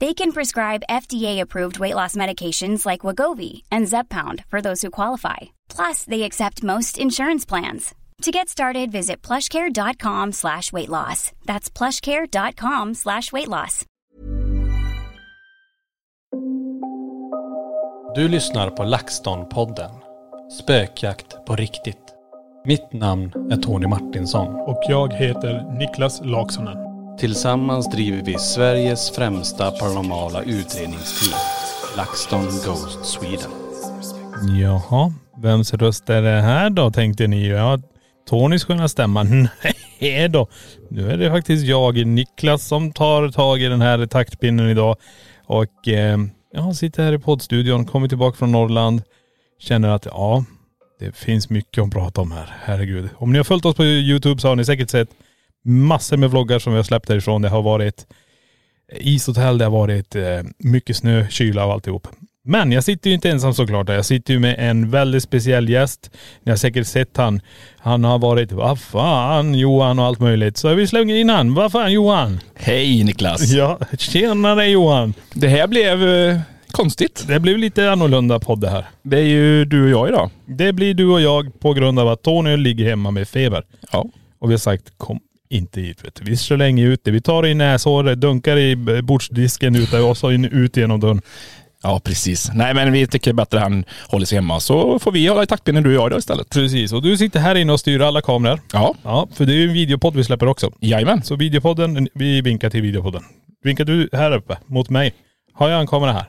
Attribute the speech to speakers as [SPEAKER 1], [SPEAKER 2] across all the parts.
[SPEAKER 1] They can prescribe FDA-approved weight loss medications like Wagovi and Zepbound for those who qualify. Plus, they accept most insurance plans. To get started, visit plushcare.com slash weight loss. That's plushcare.com slash weight loss.
[SPEAKER 2] Du lyssnar på LaxTon-podden. Spökjakt på riktigt. Mitt namn är Tony Martinsson.
[SPEAKER 3] Och jag heter Niklas Laksonen.
[SPEAKER 4] Tillsammans driver vi Sveriges främsta paranormala utredningsteam, LaxTon Ghost Sweden.
[SPEAKER 3] Jaha, vems röst är det här då tänkte ni? Ja, Tonys sköna stämma. Nej då. Nu är det faktiskt jag, Niklas, som tar tag i den här taktpinnen idag. Och eh, jag sitter här i poddstudion, kommer tillbaka från Norrland. Känner att ja, det finns mycket att prata om här. Herregud. Om ni har följt oss på YouTube så har ni säkert sett massor med vloggar som vi har släppt därifrån. Det har varit ishotell, det har varit eh, mycket snö, kyla och alltihop. Men jag sitter ju inte ensam såklart. Jag sitter ju med en väldigt speciell gäst. Ni har säkert sett han. Han har varit, vad fan Johan och allt möjligt. Så vi slänger in han. Vad fan Johan?
[SPEAKER 5] Hej Niklas!
[SPEAKER 3] Ja, tjenare Johan.
[SPEAKER 5] Det här blev eh, konstigt.
[SPEAKER 3] Det blev lite annorlunda podd det här.
[SPEAKER 5] Det är ju du och jag idag.
[SPEAKER 3] Det blir du och jag på grund av att Tony ligger hemma med feber.
[SPEAKER 5] Ja.
[SPEAKER 3] Och vi har sagt, kom inte hit vet du. Vi slänger ut det. Vi tar det i näshåret, dunkar i b- bordsdisken ute och så in, ut genom dörren.
[SPEAKER 5] Ja, precis. Nej, men vi tycker bättre han håller sig hemma så får vi hålla i taktpinnen du och jag idag istället.
[SPEAKER 3] Precis, och du sitter här inne och styr alla kameror.
[SPEAKER 5] Ja,
[SPEAKER 3] Ja, för det är ju en videopodd vi släpper också.
[SPEAKER 5] jajamän.
[SPEAKER 3] Så videopodden, vi vinkar till videopodden. Vinkar du här uppe mot mig? Har jag en kamera här?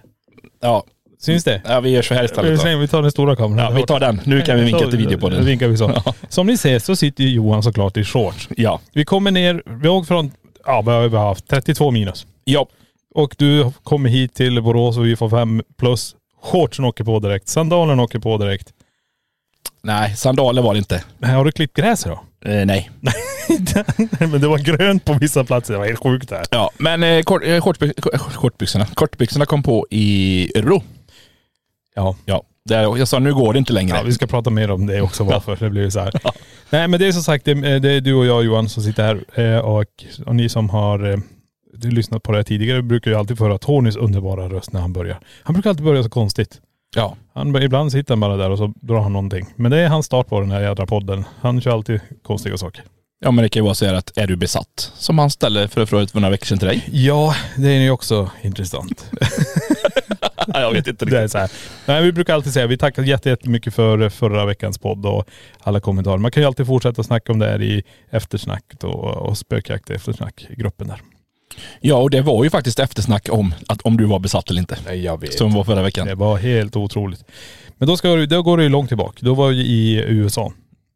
[SPEAKER 5] Ja.
[SPEAKER 3] Syns det?
[SPEAKER 5] ja, vi gör så här
[SPEAKER 3] Vi
[SPEAKER 5] istället. Då.
[SPEAKER 3] säger- Vi tar den stora kameran.
[SPEAKER 5] Ja, vi tar den. Nu kan vi vinka till
[SPEAKER 3] Nu
[SPEAKER 5] videopodden.
[SPEAKER 3] vinkar vi så. Som ni ser så sitter ju Johan såklart i shorts.
[SPEAKER 5] Ja.
[SPEAKER 3] Vi kommer ner, vi har åkt från, ja vad har vi haft? 32 minus.
[SPEAKER 5] Ja.
[SPEAKER 3] Och du kommer hit till Borås och vi får fem plus. Shortsen åker på direkt, sandalen åker på direkt.
[SPEAKER 5] Nej, sandaler var det inte.
[SPEAKER 3] Nej, Har du klippt gräs då?
[SPEAKER 5] Eh, nej.
[SPEAKER 3] Men det var grönt på vissa platser, det var helt sjukt där.
[SPEAKER 5] Ja, men eh, kort, eh, kortby- k- kortbyxorna. kortbyxorna kom på i Örebro.
[SPEAKER 3] Ja.
[SPEAKER 5] Ja. Där, jag sa nu går det inte längre.
[SPEAKER 3] Ja, vi ska prata mer om det också varför det blir så här. Nej men det är som sagt, det, det är du och jag Johan som sitter här eh, och, och ni som har eh, du lyssnat på det här tidigare brukar ju alltid få höra Tonys underbara röst när han börjar. Han brukar alltid börja så konstigt.
[SPEAKER 5] Ja.
[SPEAKER 3] Han, ibland sitter han bara där och så drar han någonting. Men det är hans start på den här jädra podden. Han kör alltid konstiga saker.
[SPEAKER 5] ja, men det kan ju vara så här att är du besatt? Som han ställde för, för några veckor sedan till dig.
[SPEAKER 3] Ja, det är ju också intressant.
[SPEAKER 5] Ja, jag vet inte
[SPEAKER 3] Det är så här. Nej, vi brukar alltid säga, vi tackar jätte- jättemycket för förra veckans podd och alla kommentarer. Man kan ju alltid fortsätta snacka om det här i eftersnacket och, och spökjakt i eftersnack-gruppen där.
[SPEAKER 5] Ja, och det var ju faktiskt eftersnack om att om du var besatt eller inte.
[SPEAKER 3] Nej, jag vet.
[SPEAKER 5] Som var förra veckan.
[SPEAKER 3] Det var helt otroligt. Men då, ska, du- då går det ju långt tillbaka. Då var vi i USA.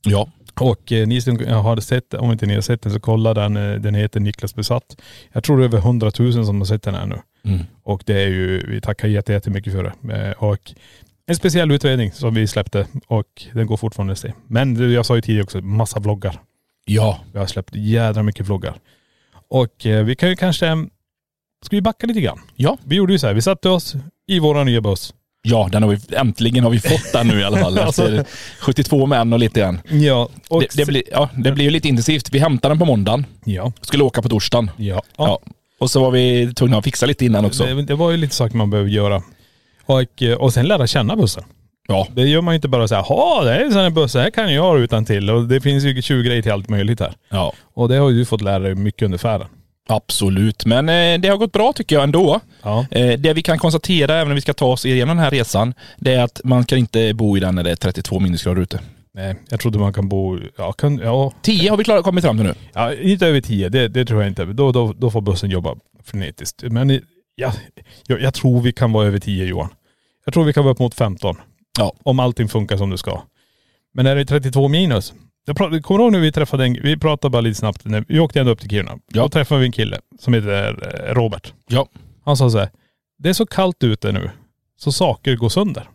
[SPEAKER 5] Ja.
[SPEAKER 3] Och eh, ni som har sett, om inte ni har sett den så kolla den. eh, Den heter Niklas Besatt. Jag tror det är över 100 000 som har sett den här nu.
[SPEAKER 5] Mm.
[SPEAKER 3] Och det är ju, vi tackar jätte- jättemycket för det. Eh, Och en speciell utredning som vi släppte och den går fortfarande att se. Men du, jag sa ju tidigare också, massa vloggar.
[SPEAKER 5] Ja.
[SPEAKER 3] Vi har släppt jädra mycket vloggar. Och eh, vi kan ju kanske, eh, ska vi backa lite grann?
[SPEAKER 5] Ja.
[SPEAKER 3] Vi gjorde ju så här, vi satte oss i våra nya buss.
[SPEAKER 5] Ja, den har vi, äntligen har vi fått den nu i alla fall. Efter 72 män och lite grann.
[SPEAKER 3] Ja. Och
[SPEAKER 5] Det, det, blir, ja, det blir ju lite intensivt. Vi hämtade den på måndagen.
[SPEAKER 3] ja.
[SPEAKER 5] Skulle åka på torsdagen.
[SPEAKER 3] Ja.
[SPEAKER 5] Ja. Och så var vi tvungna att fixa lite innan också.
[SPEAKER 3] Det, det var ju lite saker man behöver göra. Och, eh, och sen lära känna bussen.
[SPEAKER 5] Ja.
[SPEAKER 3] Det gör man ju inte bara så här, ja det är en sån här buss, så här kan jag utan till. Och det finns ju 20 grejer till allt möjligt här.
[SPEAKER 5] Ja.
[SPEAKER 3] Och det har ju du fått lära dig mycket under färden.
[SPEAKER 5] Absolut, men eh, det har gått bra tycker jag ändå.
[SPEAKER 3] Ja.
[SPEAKER 5] Eh, det vi kan konstatera, även om vi ska ta oss igenom den här resan, det är att man kan inte bo i den när det är 32 minusgrader ute.
[SPEAKER 3] Nej, jag trodde man kan bo, ja, kan, ja,
[SPEAKER 5] 10 har vi klarat, kommit fram till nu.
[SPEAKER 3] ja inte över tio, det, det tror jag inte. Då, då, då får bussen jobba frenetiskt. Men i- ja, jag, jag tror vi kan vara över tio Johan. Jag tror vi kan vara upp mot 15.
[SPEAKER 5] Ja.
[SPEAKER 3] Om allting funkar som det ska. Men är det 32 minus? Jag pratade, kommer du ihåg när vi träffade en, vi pratade bara lite snabbt, när vi åkte ändå upp till Kiruna.
[SPEAKER 5] Ja.
[SPEAKER 3] Då träffade vi en kille som heter eh, Robert.
[SPEAKER 5] Ja.
[SPEAKER 3] Han sa så här, det är så kallt ute nu så saker går sönder.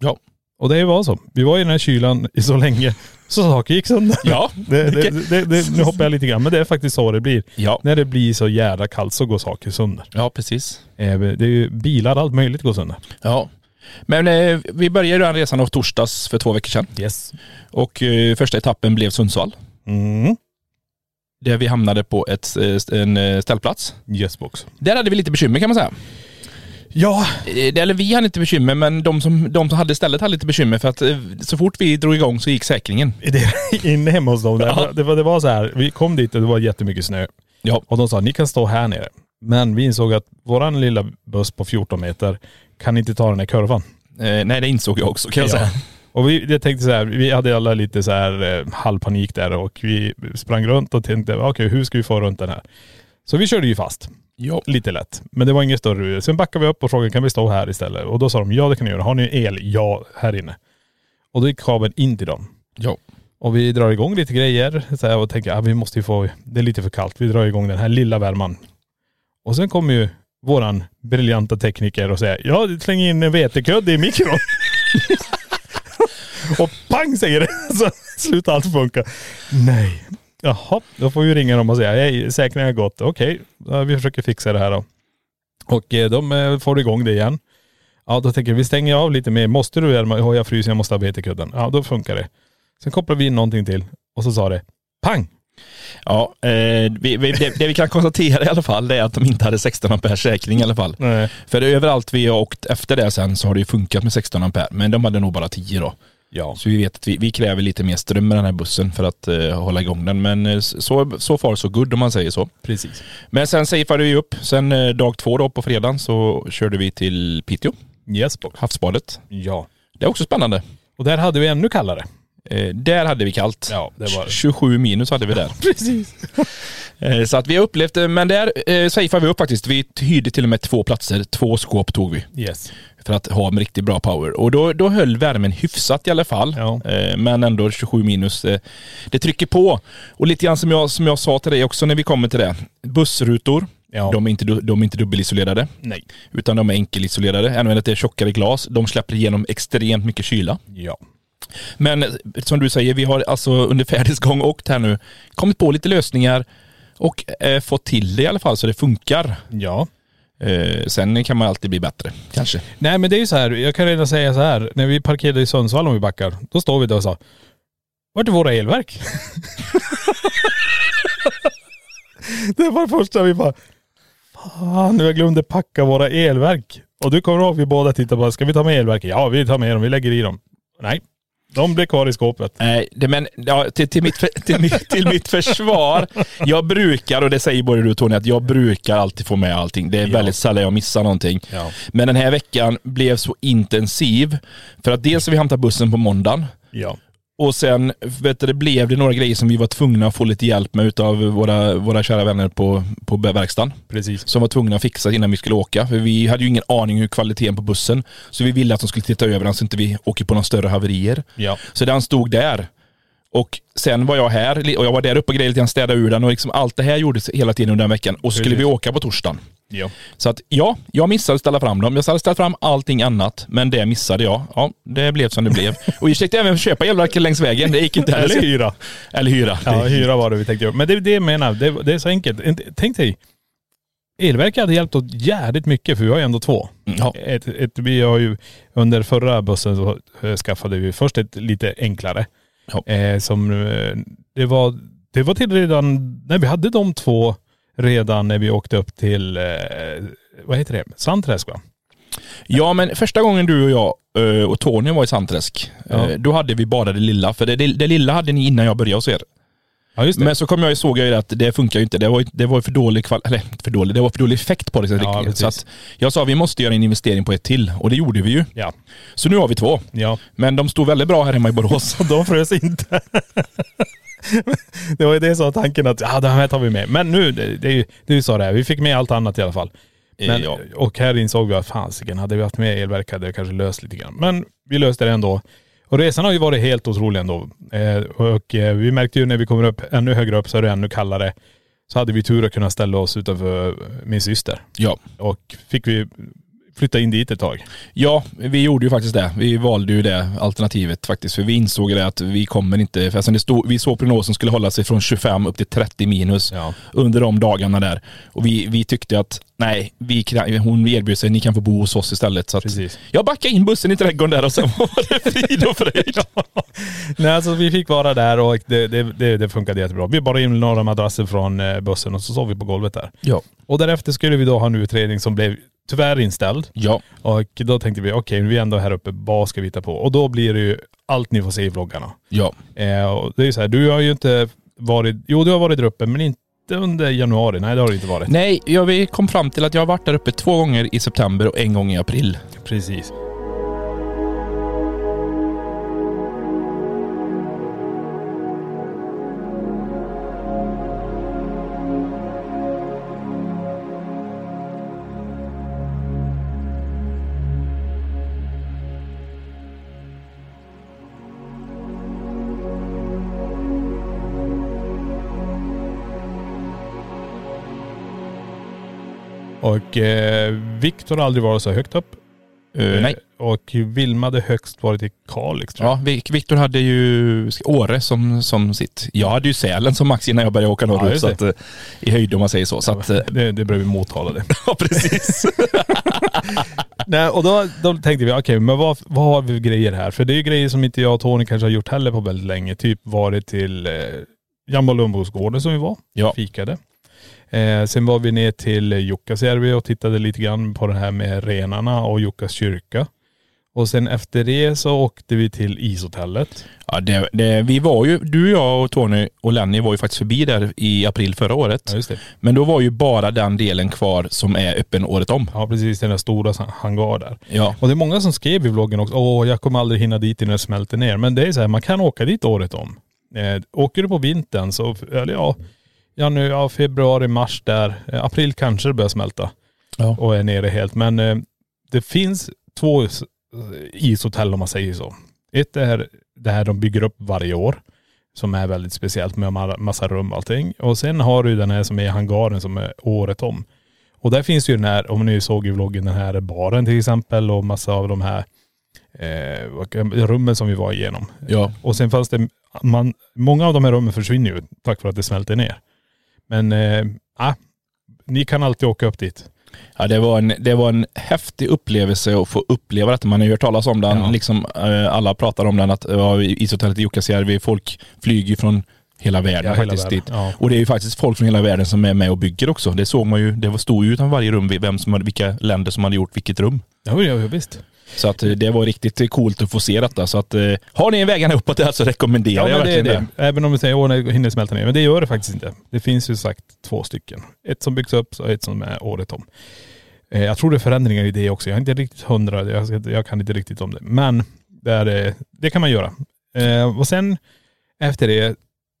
[SPEAKER 5] Ja.
[SPEAKER 3] Och det var så. Vi var i den här kylan i så länge så saker gick sönder.
[SPEAKER 5] Ja.
[SPEAKER 3] Det, det, det, det, nu hoppar jag lite grann men det är faktiskt så det blir.
[SPEAKER 5] Ja.
[SPEAKER 3] När det blir så jävla kallt så går saker sönder.
[SPEAKER 5] Ja, precis.
[SPEAKER 3] Eh, Det är ju bilar, allt möjligt går sönder.
[SPEAKER 5] Ja. Men eh, vi började den resan av torsdags för två veckor sedan.
[SPEAKER 3] Yes.
[SPEAKER 5] Och eh, första etappen blev Sundsvall.
[SPEAKER 3] Mm.
[SPEAKER 5] Där vi hamnade på ett, eh, st- en eh, ställplats.
[SPEAKER 3] Yes box.
[SPEAKER 5] Där hade vi lite bekymmer kan man säga.
[SPEAKER 3] Ja.
[SPEAKER 5] Eh, det- Eller vi hade inte bekymmer, men de som, de som hade stället hade lite bekymmer för att eh, så fort vi drog igång så gick säkringen.
[SPEAKER 3] Det, inne hemma hos dem. Där.
[SPEAKER 5] Ja.
[SPEAKER 3] Det, var, det var så här, vi kom dit och det var jättemycket snö.
[SPEAKER 5] Ja.
[SPEAKER 3] Och de sa, ni kan stå här nere. Men vi insåg att våran lilla buss på 14 meter kan inte ta den här kurvan.
[SPEAKER 5] Eh, nej, det insåg jag också kan jag
[SPEAKER 3] Ja.
[SPEAKER 5] säga.
[SPEAKER 3] Och vi jag tänkte så här, vi hade alla lite så här eh, halvpanik där och vi sprang runt och tänkte, okej hur ska vi få runt den här? Så vi körde ju fast.
[SPEAKER 5] Ja.
[SPEAKER 3] Lite lätt. Men det var inget större rus. Sen backade vi upp och frågade, kan vi stå här istället? Och då sa de, ja det kan ni göra. Har ni el? Ja, här inne. Och då gick kabeln in till dem.
[SPEAKER 5] Ja.
[SPEAKER 3] Och vi drar igång lite grejer så här, och tänker, ah, vi måste ju få, det är lite för kallt. Vi drar igång den här lilla värman. Och sen kommer ju våran briljanta tekniker och säger, ja släng in en vetekudde i mikron. och pang säger det. Så slutar allt funka. Nej. Jaha, då får vi ringa dem och säga, hej säkringen har gått. Okej, ja, vi försöker fixa det här då. Och eh, de eh, får igång det igen. Ja då tänker jag, vi stänger av lite mer. Måste du värma? Ja jag fryser, jag måste ha vetekudden. Ja då funkar det. Sen kopplade vi in någonting till och så sa det pang.
[SPEAKER 5] Ja, eh, vi, vi, det, det vi kan konstatera i alla fall det är att de inte hade 16 ampere säkring i alla fall.
[SPEAKER 3] Nej.
[SPEAKER 5] För överallt vi har åkt efter det sen så har det ju funkat med 16 ampere, men de hade nog bara 10 då.
[SPEAKER 3] Ja.
[SPEAKER 5] Så vi vet att vi, vi kräver lite mer ström i den här bussen för att eh, hålla igång den. Men eh, så, så far så good om man säger så.
[SPEAKER 3] Precis.
[SPEAKER 5] Men sen safeade vi upp. Sen eh, dag två då på fredagen så körde vi till Piteå,
[SPEAKER 3] Yes box.
[SPEAKER 5] havsbadet.
[SPEAKER 3] Ja.
[SPEAKER 5] Det är också spännande.
[SPEAKER 3] Och där hade vi ännu kallare.
[SPEAKER 5] Eh, där hade vi kallt.
[SPEAKER 3] Ja, det var det.
[SPEAKER 5] 27 minus hade vi där.
[SPEAKER 3] Precis.
[SPEAKER 5] Eh, Så att vi har upplevt det, men där eh, safeade vi upp faktiskt. Vi hyrde till och med två platser, två skåp tog vi.
[SPEAKER 3] Yes.
[SPEAKER 5] För att ha en riktigt bra power. Och då, då höll värmen hyfsat i alla fall.
[SPEAKER 3] Ja.
[SPEAKER 5] Eh, men ändå 27 minus. Eh, det trycker på. Och lite grann som jag, som jag sa till dig också när vi kommer till det. Bussrutor,
[SPEAKER 3] Ja.
[SPEAKER 5] de, är inte, du- de är inte dubbelisolerade.
[SPEAKER 3] Nej.
[SPEAKER 5] Utan de är enkelisolerade. Även om det är tjockare glas. De släpper igenom extremt mycket kyla.
[SPEAKER 3] Ja.
[SPEAKER 5] Men eh, som du säger, vi har alltså under färdens gång åkt här nu, kommit på lite lösningar och eh, fått till det i alla fall så det funkar.
[SPEAKER 3] Ja.
[SPEAKER 5] Eh, sen kan man alltid bli bättre, kanske.
[SPEAKER 3] Nej men det är ju så här, jag kan redan säga så här. När vi parkerade i Sundsvall om vi backar, då står vi där och sa Vart är våra elverk? det var det första vi bara Fan, jag glömde packa våra elverk. Och du kommer ihåg, vi båda tittade bara, ska vi ta med elverken? Ja, vi tar med dem, vi lägger i dem. Nej, de blir kvar i skåpet.
[SPEAKER 5] Nej, Eh, det, men ja, till, till, mitt, för- till, mitt, till mitt försvar. Jag brukar, och det säger både du och Tony, att jag brukar alltid få med allting. Det är väldigt sällan jag missar någonting.
[SPEAKER 3] Ja.
[SPEAKER 5] Men den här veckan blev så intensiv. För att dels vi hämtade bussen på måndagen.
[SPEAKER 3] Ja.
[SPEAKER 5] Och sen vet du, det blev det några grejer som vi var tvungna att få lite hjälp med utav våra, våra kära vänner på, på verkstaden.
[SPEAKER 3] Precis.
[SPEAKER 5] Som var tvungna att fixa innan vi skulle åka. För vi hade ju ingen aning hur kvaliteten på bussen. Så vi ville att de skulle titta över den så inte vi åker på några större haverier.
[SPEAKER 3] Ja.
[SPEAKER 5] Så den stod där. Och sen var jag här li- och jag var där uppe och grejade lite grann, städade ur den och liksom allt det här gjordes hela tiden under den veckan. Och så skulle vi
[SPEAKER 3] Precis.
[SPEAKER 5] åka på torsdagen.
[SPEAKER 3] Ja.
[SPEAKER 5] Så att ja, jag missade att ställa fram dem. Jag hade ställt fram allting annat, men det missade jag. Ja, det blev som det blev. Och jag försökte även köpa elverket längs vägen. Det gick inte heller.
[SPEAKER 3] Eller hyra.
[SPEAKER 5] Eller hyra.
[SPEAKER 3] Ja, hyra var det vi tänkte göra. Men det är det jag menar, det, det är så enkelt. Inte- Tänk dig, elverket hade hjälpt oss jävligt mycket för vi har ju ändå två.
[SPEAKER 5] Ja.
[SPEAKER 3] Ett, ett, vi har ju, under förra bussen så eh, skaffade vi först ett lite enklare.
[SPEAKER 5] Ja.
[SPEAKER 3] Eh, som, eh, det, var, det var till redan, nej vi hade de två redan när vi åkte upp till, eh, vad heter det, Sandträsk va?
[SPEAKER 5] ja, men första gången du och jag eh, och Tony var i Sandträsk, eh,
[SPEAKER 3] Ja.
[SPEAKER 5] då hade vi bara det lilla. För det, det, det lilla hade ni innan jag började hos er.
[SPEAKER 3] Ja, just det.
[SPEAKER 5] Men så kom jag och såg jag ju att det funkar ju inte. Det var, ju- det var ju för dålig kval, eller för dålig, det var för dålig effekt på det.
[SPEAKER 3] Ja,
[SPEAKER 5] Ja,
[SPEAKER 3] precis.
[SPEAKER 5] så att jag sa vi måste göra en investering på ett till och det gjorde vi ju.
[SPEAKER 3] Ja.
[SPEAKER 5] Så nu har vi två.
[SPEAKER 3] Ja.
[SPEAKER 5] Men de stod väldigt bra här hemma i Borås.
[SPEAKER 3] De frös inte. det var ju det som var tanken att ja, det här tar vi med. Men nu, det, det är ju, du sa det, här, vi fick med allt annat i alla fall. Men,
[SPEAKER 5] Ja.
[SPEAKER 3] Och här insåg vi att fasiken, hade vi haft med elverk hade det kanske löst lite grann. Men vi löste det ändå. Och resan har ju varit helt otrolig ändå. Eh, och eh, vi märkte ju när vi kommer upp ännu högre upp så är det ännu kallare. Så hade vi tur att kunna ställa oss utanför min syster.
[SPEAKER 5] Ja.
[SPEAKER 3] Och fick vi flytta in dit ett tag.
[SPEAKER 5] Ja, vi gjorde ju faktiskt det. Vi valde ju det alternativet faktiskt. För vi insåg ju det att vi kommer inte... För alltså det stod, vi såg prognosen skulle hålla sig från 25 upp till 30 minus
[SPEAKER 3] Ja.
[SPEAKER 5] under de dagarna där. Och vi, vi tyckte att nej, vi, kan- hon erbjöd sig, ni kan få bo hos oss istället. Så att
[SPEAKER 3] Precis.
[SPEAKER 5] jag backade in bussen i trädgården där och sen var det frid och fröjd.
[SPEAKER 3] Nej, alltså vi fick vara där och det, det, det, det funkade jättebra. Vi bar in några madrasser från eh, bussen och så sov vi på golvet där.
[SPEAKER 5] Ja.
[SPEAKER 3] Och därefter skulle vi då ha en utredning som blev tyvärr inställd.
[SPEAKER 5] Ja.
[SPEAKER 3] Och då tänkte vi, okej vi är ändå här uppe, vad ska vi hitta på? Och då blir det ju allt ni får se i vloggarna.
[SPEAKER 5] Ja.
[SPEAKER 3] Eh, och det är ju så här, du har ju inte varit, jo du har varit där uppe men inte under januari. Nej det har du inte varit.
[SPEAKER 5] Nej, ja, vi kom fram till att jag har varit där uppe två gånger i september och en gång i april.
[SPEAKER 3] Precis. Och eh, Viktor har aldrig varit så högt upp.
[SPEAKER 5] Eh, nej.
[SPEAKER 3] Och Vilma hade högst varit i Kalix tror jag.
[SPEAKER 5] Ja, Vi- Victor hade ju Åre som, som sitt. Jag hade ju Sälen som max innan jag började åka norrut.
[SPEAKER 3] just
[SPEAKER 5] så
[SPEAKER 3] det.
[SPEAKER 5] att, eh, I höjd om man säger så. så att, eh,
[SPEAKER 3] det, det blev vi mottalade.
[SPEAKER 5] ja, precis.
[SPEAKER 3] Nej, och då, då tänkte vi, okej, men vad, vad har vi för grejer här? För det är ju grejer som inte jag och Tony kanske har gjort heller på väldigt länge. Typ varit till eh, Jambo Lumbo-gården som vi var,
[SPEAKER 5] Ja.
[SPEAKER 3] fikade. Eh, sen var vi ner till Jukkasjärvi och tittade lite grann på det här med renarna och Jukkas kyrka. Och sen efter det så åkte vi till ishotellet.
[SPEAKER 5] ja, det, det, vi var ju, du, jag och Tony och Lenny var ju faktiskt förbi där i april förra året.
[SPEAKER 3] just det.
[SPEAKER 5] Men då var ju bara den delen kvar som är öppen året om.
[SPEAKER 3] Ja precis, den där stora san- hangar där.
[SPEAKER 5] Liksom. Ja.
[SPEAKER 3] Och det är många som skrev i vloggen också, åh jag kommer aldrig hinna dit innan det smälter ner. Men det är så här, man kan åka dit året om. Eh, åker du på vintern så, eller ja, ja, nu, ja februari, mars där, eh, april kanske det börjar smälta
[SPEAKER 5] Ja.
[SPEAKER 3] och är nere helt. Men eh, det finns två s- ishotell om man säger så. Ett är det här de bygger upp varje år som är väldigt speciellt med ma- massa rum och allting. Och sen har du den här som är i hangaren som är året om. Och där finns ju den här, om ni såg i vloggen, den här baren till exempel och massa av de här eh, vad kan- rummen som vi var igenom.
[SPEAKER 5] Ja.
[SPEAKER 3] Och sen fanns det, man, många av de här rummen försvinner ju tack vare att det smälter ner. Men, eh, ah, ni kan alltid åka upp dit.
[SPEAKER 5] Ja, det, var en, det var en häftig upplevelse att få uppleva detta. Man har ju hört talas om den,
[SPEAKER 3] Ja.
[SPEAKER 5] liksom, eh, alla pratar om den, att ja, ishotellet i Jukkasjärvi, folk flyger ju från hela världen
[SPEAKER 3] Ja, hela
[SPEAKER 5] faktiskt
[SPEAKER 3] världen.
[SPEAKER 5] dit.
[SPEAKER 3] Ja.
[SPEAKER 5] Och det är ju faktiskt folk från hela världen som är med och bygger också. Det såg man ju, det var- stod ju utanför varje rum vem som hade, vilka länder som hade gjort vilket rum.
[SPEAKER 3] Ja, ja visst.
[SPEAKER 5] Så att eh, det var riktigt coolt att få se detta. Så att eh, har ni vägarna uppåt där så rekommenderar
[SPEAKER 3] Ja,
[SPEAKER 5] jag
[SPEAKER 3] men det är
[SPEAKER 5] verkligen det.
[SPEAKER 3] det. Även om vi säger att det hinner smälta ner. Men det gör det faktiskt inte. Det finns ju sagt två stycken. Ett som byggs upp och ett som är året om. Eh, jag tror det är förändringar i det också. Jag är inte riktigt hundra. Jag, ska- jag kan inte riktigt om det. Men det, är, eh, det kan man göra. Eh, och sen efter det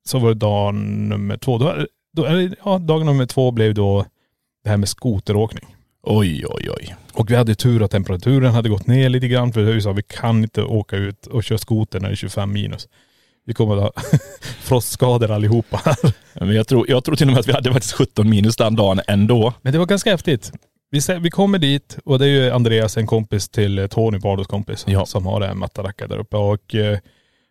[SPEAKER 3] så var det dag nummer två. Då, då, eller, ja, dag nummer två blev då det här med skoteråkning.
[SPEAKER 5] Oj, oj, oj.
[SPEAKER 3] Och vi hade tur att temperaturen hade gått ner lite grann för vi sa vi kan inte åka ut och köra skoter när det är 25 minus. Vi kommer att ha frostskador allihopa här.
[SPEAKER 5] Men jag tror, jag tror till och med att vi hade faktiskt 17 minus den dagen ändå.
[SPEAKER 3] Men det var ganska häftigt. Vi, sä- vi kommer dit och det är ju Andreas, en kompis till eh, Tony, Bardos kompis,
[SPEAKER 5] Ja.
[SPEAKER 3] som har en mataracka där uppe. Och eh,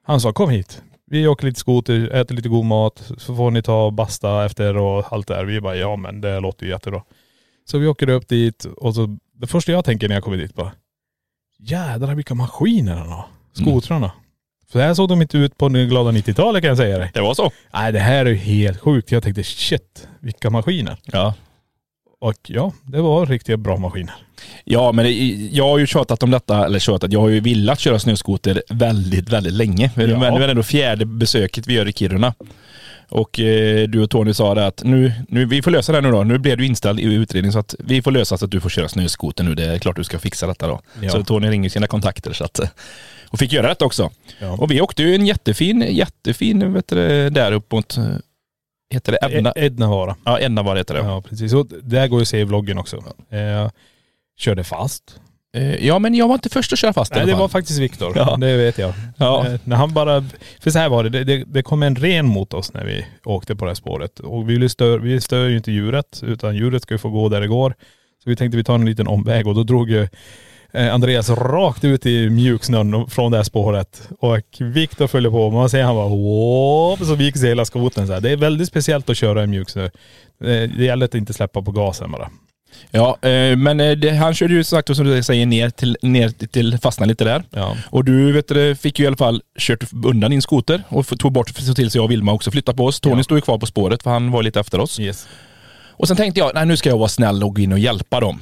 [SPEAKER 3] han sa kom hit. Vi åker lite skoter, äter lite god mat, så får ni ta och basta efter och allt det där. Vi bara, ja men det låter ju jättebra. Så vi åker upp dit och så, det första jag tänker när jag kommer dit bara, jädrar vilka maskiner han har. Skotrarna. För det här såg de inte ut på den glada 90-talet kan jag säga dig.
[SPEAKER 5] Det var så.
[SPEAKER 3] Nej det här är ju helt sjukt. Jag tänkte shit, vilka maskiner.
[SPEAKER 5] Ja.
[SPEAKER 3] Och ja, det var riktigt bra maskiner.
[SPEAKER 5] Ja, men det, jag har ju tjatat om detta, eller tjatat, jag har ju velat köra snöskoter väldigt, väldigt länge. Men
[SPEAKER 3] Ja.
[SPEAKER 5] det var ändå fjärde besöket vi gör i Kiruna. Och eh, du och Tony sa det att nu, nu, vi får lösa det här nu då. Nu blev du inställd i utredning så att vi får lösa så att du får köra snöskoter nu. Det är klart du ska fixa detta då.
[SPEAKER 3] Ja.
[SPEAKER 5] Så Tony ringer sina kontakter så att, eh, och fick göra detta också.
[SPEAKER 3] Ja.
[SPEAKER 5] Och vi åkte ju en jättefin, jättefin vet du, det, där upp mot, eh, heter det Edna?
[SPEAKER 3] E- Ednavara.
[SPEAKER 5] Ja, Edna var det heter det.
[SPEAKER 3] Ja, precis. Och där går ju att se i vloggen också. Eh, körde fast.
[SPEAKER 5] Eh, Ja men jag var inte först att köra fast i
[SPEAKER 3] Nej,
[SPEAKER 5] alla
[SPEAKER 3] det
[SPEAKER 5] fall.
[SPEAKER 3] var faktiskt Viktor.
[SPEAKER 5] Ja.
[SPEAKER 3] Det vet jag.
[SPEAKER 5] Ja.
[SPEAKER 3] Eh, När han bara, för så här var det, det, det, det kom en ren mot oss när vi åkte på det här spåret. Och vi, ville stör, vi stör ju inte djuret, utan djuret ska ju få gå där det går. Så vi tänkte vi tar en liten omväg och då drog ju eh, Andreas rakt ut i mjuksnön och- från det här spåret. Och Viktor följde på. Man ser han bara Whoop, så viker sig hela skoten så här. Det är väldigt speciellt att köra i mjuksnö. Eh, Det gäller att inte släppa på gasen bara.
[SPEAKER 5] Ja, eh, men eh, det, han körde ju som sagt, som du säger, ner till, ner till fastna lite där.
[SPEAKER 3] Ja.
[SPEAKER 5] Och du vet, du, fick ju i alla fall kört undan din skoter och f- tog bort, så till sig jag och Vilma också flyttade på oss. Tony
[SPEAKER 3] Ja.
[SPEAKER 5] stod ju kvar på spåret för han var lite efter oss.
[SPEAKER 3] Yes.
[SPEAKER 5] Och sen tänkte jag, nej nu ska jag vara snäll och gå in och hjälpa dem.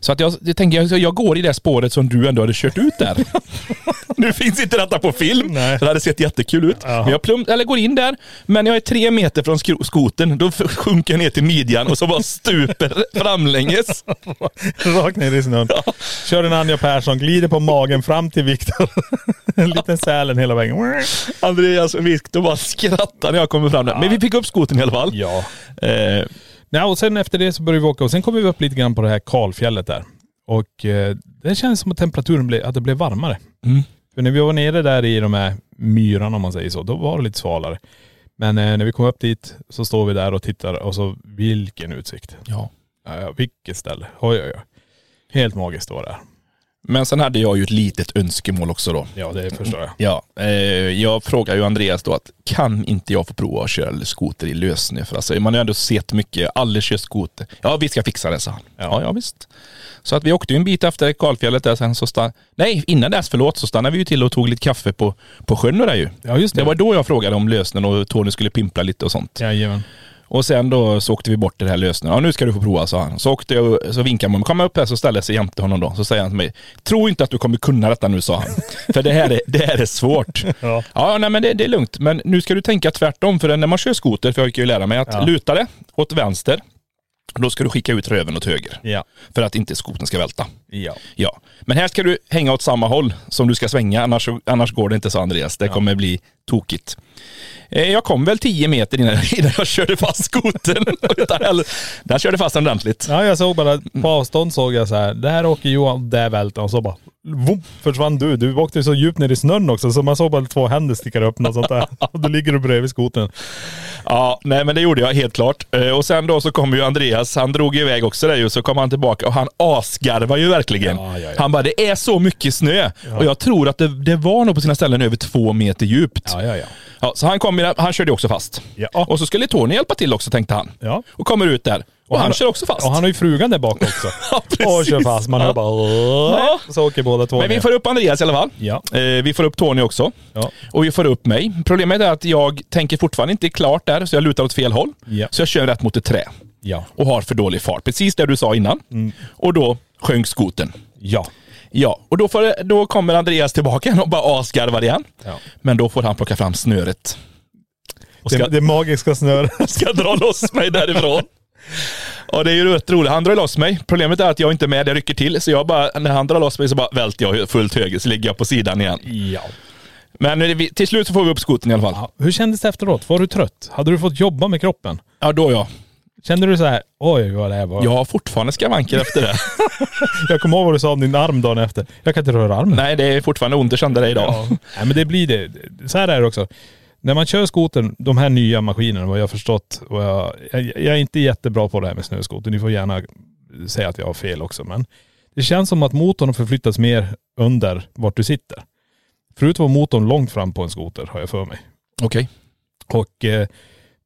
[SPEAKER 5] Så att jag, jag tänkte, jag, jag går i det spåret som du ändå hade kört ut där. nu finns inte detta på film,
[SPEAKER 3] Nej.
[SPEAKER 5] så det hade sett jättekul ut. Men jag plump, eller går in där, men när jag är tre meter från skro- skoten, då f- sjunker jag ner till midjan och så bara stuper framlänges.
[SPEAKER 3] Rakt ner i snön. Kör en Anja Persson, glider på magen fram till Viktor. en liten sälen hela vägen.
[SPEAKER 5] Andreas och Viktor bara skrattar när jag kommer fram där. Men vi fick upp skoten i alla fall.
[SPEAKER 3] Ja.
[SPEAKER 5] Eh,
[SPEAKER 3] Nej, och sen efter det så började vi åka och sen kom vi upp lite grann på det här kalfjället där. Och eh, det kändes som att temperaturen blev, att det blev varmare. För när vi var nere där i de här myrarna om man säger så, då var det lite svalare. Men eh, när vi kom upp dit så står vi där och tittar och så vilken utsikt.
[SPEAKER 5] ja.
[SPEAKER 3] Ja, ja, vilket ställe. Oj, oj, oj. Helt magiskt var det. här.
[SPEAKER 5] Men sen hade jag ju ett litet önskemål också då.
[SPEAKER 3] Ja, det förstår jag.
[SPEAKER 5] Ja, eh, jag frågar ju Andreas då att kan inte jag få prova att köra skoter i lössnö? För alltså, man har ju ändå sett mycket, alla kör skoter. Ja vi ska fixa det sa han. Ja, ja visst. Så att vi åkte ju en bit efter kalfjället där sen så stann... Nej innan dess, förlåt, så stannade vi ju till och tog lite kaffe på, på sjön och där ju.
[SPEAKER 3] Ja, just det.
[SPEAKER 5] Det var då jag frågade om lösnen och Tony skulle pimpla lite och sånt.
[SPEAKER 3] Jajamän.
[SPEAKER 5] Och sen då så åkte vi bort till det här lösningen. Ja nu ska du få prova sa han. Så åkte jag så vinkade man. Kom upp här så ställde jag sig jämte honom då. Så säger han till mig. Tro inte att du kommer kunna detta nu sa han. För det här är, det här är svårt.
[SPEAKER 3] Ja.
[SPEAKER 5] ja nej men det, det är lugnt. Men nu ska du tänka tvärtom. För när man kör skoter, för jag fick ju lära mig att
[SPEAKER 3] Ja.
[SPEAKER 5] luta det åt vänster. Då ska du skicka ut röven åt höger.
[SPEAKER 3] Ja.
[SPEAKER 5] För att inte skotern ska välta.
[SPEAKER 3] Ja.
[SPEAKER 5] Ja. Men här ska du hänga åt samma håll som du ska svänga, annars, annars går det inte så Andreas. Det kommer bli tokigt. Eh, Jag kom väl 10 meter innan, innan jag körde fast skotern. Utan hell- Den körde fast den ordentligt.
[SPEAKER 3] Ja, jag såg bara,
[SPEAKER 5] Mm.
[SPEAKER 3] på avstånd såg jag så här, där åker Johan, där välter han. Och så bara, vum, försvann du. Du åkte så djupt ner i snön också, så man såg bara två händer sticka upp och sånt där. Och då ligger du bredvid skotern.
[SPEAKER 5] Ja, nej men det gjorde jag helt klart. Eh, Och sen då så kom ju Andreas, han drog iväg också där ju, så kom han tillbaka och han asgarvar ju verkligen.
[SPEAKER 3] Ja, ja, ja.
[SPEAKER 5] Han bara, det är så mycket snö. Och jag tror att det, det var nog på sina ställen över två meter djupt.
[SPEAKER 3] ja, ja.
[SPEAKER 5] Ja, så han, kom, i- han körde ju också fast.
[SPEAKER 3] Ja.
[SPEAKER 5] Och så skulle Tony hjälpa till också tänkte han.
[SPEAKER 3] Ja.
[SPEAKER 5] Och kommer ut där. Och, han, kör också fast.
[SPEAKER 3] Och han har ju frugan där bak också.
[SPEAKER 5] Ja, precis.
[SPEAKER 3] och kör fast. Man hör bara,
[SPEAKER 5] Ja.
[SPEAKER 3] "Åh", så åker båda två
[SPEAKER 5] Men vi
[SPEAKER 3] ner.
[SPEAKER 5] får upp Andreas i alla fall.
[SPEAKER 3] Ja.
[SPEAKER 5] Eh, vi får upp Tony också.
[SPEAKER 3] Ja.
[SPEAKER 5] Och vi får upp mig. Problemet är att jag tänker fortfarande inte klart där, så jag lutar åt fel håll.
[SPEAKER 3] Ja.
[SPEAKER 5] Så jag kör rätt mot ett trä.
[SPEAKER 3] Ja. Mm.
[SPEAKER 5] Och har för dålig fart. Precis det du sa innan. Och då sjönk skoten.
[SPEAKER 3] Ja.
[SPEAKER 5] Ja, och då, får, då kommer Andreas tillbaka igen och bara asgarvar igen.
[SPEAKER 3] Ja.
[SPEAKER 5] Men då får han plocka fram snöret. Och
[SPEAKER 3] Det, det magiska snöret.
[SPEAKER 5] ska dra loss mig därifrån. Ja det är ju rätt roligt. Han drar loss mig. Problemet är att jag inte är med, jag rycker till. Så jag bara, när han drar loss mig så bara välter jag fullt höger, så ligger jag på sidan igen.
[SPEAKER 3] Ja.
[SPEAKER 5] Men eh, vi- till slut så får vi upp skoten i alla fall.
[SPEAKER 3] Hur kändes det efteråt? Var du trött? Hade du fått jobba med kroppen?
[SPEAKER 5] Ja då ja.
[SPEAKER 3] Kände du så här, oj vad det här var.
[SPEAKER 5] Jag har fortfarande skavanker efter det.
[SPEAKER 3] Jag kommer ihåg vad du sa om din arm dagen efter. Jag kan inte röra armen.
[SPEAKER 5] Nej det är fortfarande ont, jag kände det idag.
[SPEAKER 3] Ja. Nej men det blir det. Så här är det också. När man kör skotern, de här nya maskinerna, vad jag har förstått, och jag, jag, jag är inte jättebra på det här med snöskoter. Ni får gärna säga att jag har fel också, men det känns som att motorn har förflyttats mer under vart du sitter. Förut var motorn långt fram på en skoter, har jag för mig.
[SPEAKER 5] Okej.
[SPEAKER 3] Och eh,